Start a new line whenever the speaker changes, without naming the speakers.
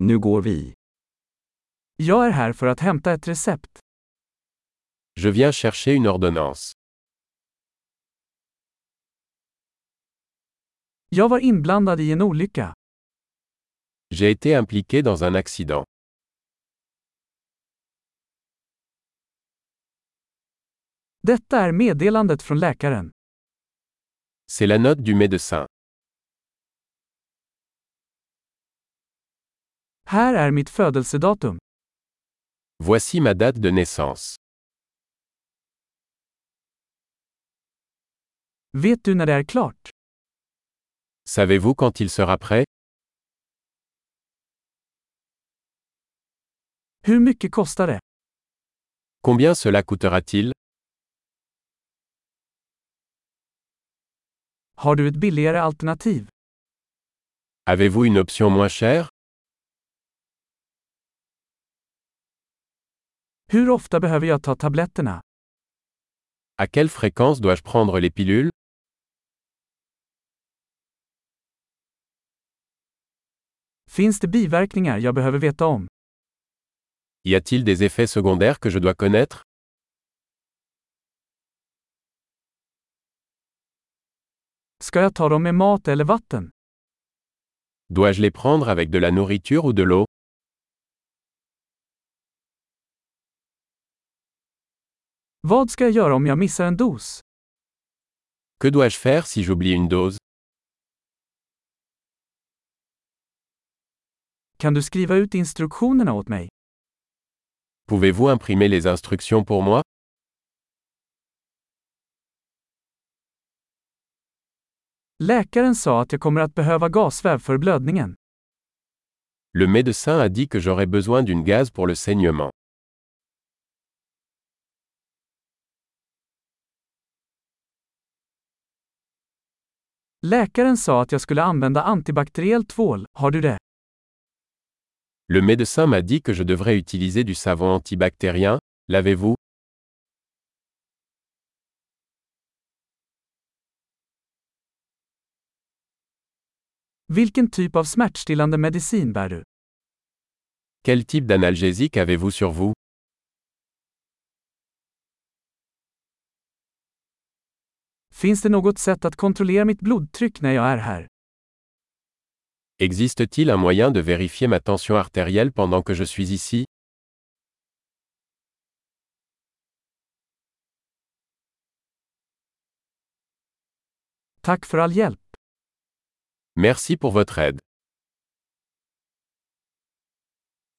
Nu går vi.
Jag är här för att hämta ett recept.
Je viens chercher une ordonnance.
Jag var inblandad i en olycka.
J'ai été impliqué dans un accident.
Detta är meddelandet från läkaren.
C'est la note du médecin.
Här är mitt födelsedatum.
Voici ma date de naissance.
Vet du när det är klart?
Savez-vous quand il sera prêt
Hur mycket kostar det?
Combien cela coûtera-t-il
Har du ett billigare alternativ?
Avez-vous une option moins chère
Hur ofta behöver jag ta tabletterna?
À quelle fréquence dois-je prendre les pilules
Finns det biverkningar jag behöver veta om?
Y a-t-il des effets secondaires que je dois connaître
Ska jag ta dem med mat eller vatten?
Dois-je les prendre avec de la nourriture ou de l'eau
Vad ska jag göra om jag missar en dos?
Que dois-je faire si j'oublie une dose
Kan du skriva ut instruktionerna åt mig?
Pouvez-vous imprimer les instructions pour moi
Läkaren sa att jag kommer att behöva gasväv för blödningen.
Le médecin a dit que j'aurais besoin d'une gaz pour le saignement.
Läkaren sa att jag skulle använda antibakteriell tvål, har du det?
Le médecin m'a dit que je devrais utiliser du savon antibactérien. L'avez-vous
Vilken typ av smärtstillande medicin bär du?
Quel type d'analgésique avez-vous sur vous
Finns det något sätt att kontrollera mitt blodtryck när jag är här?
Existe-t-il un moyen de vérifier ma tension artérielle pendant que je suis ici
Tack för all hjälp.
Merci pour votre aide.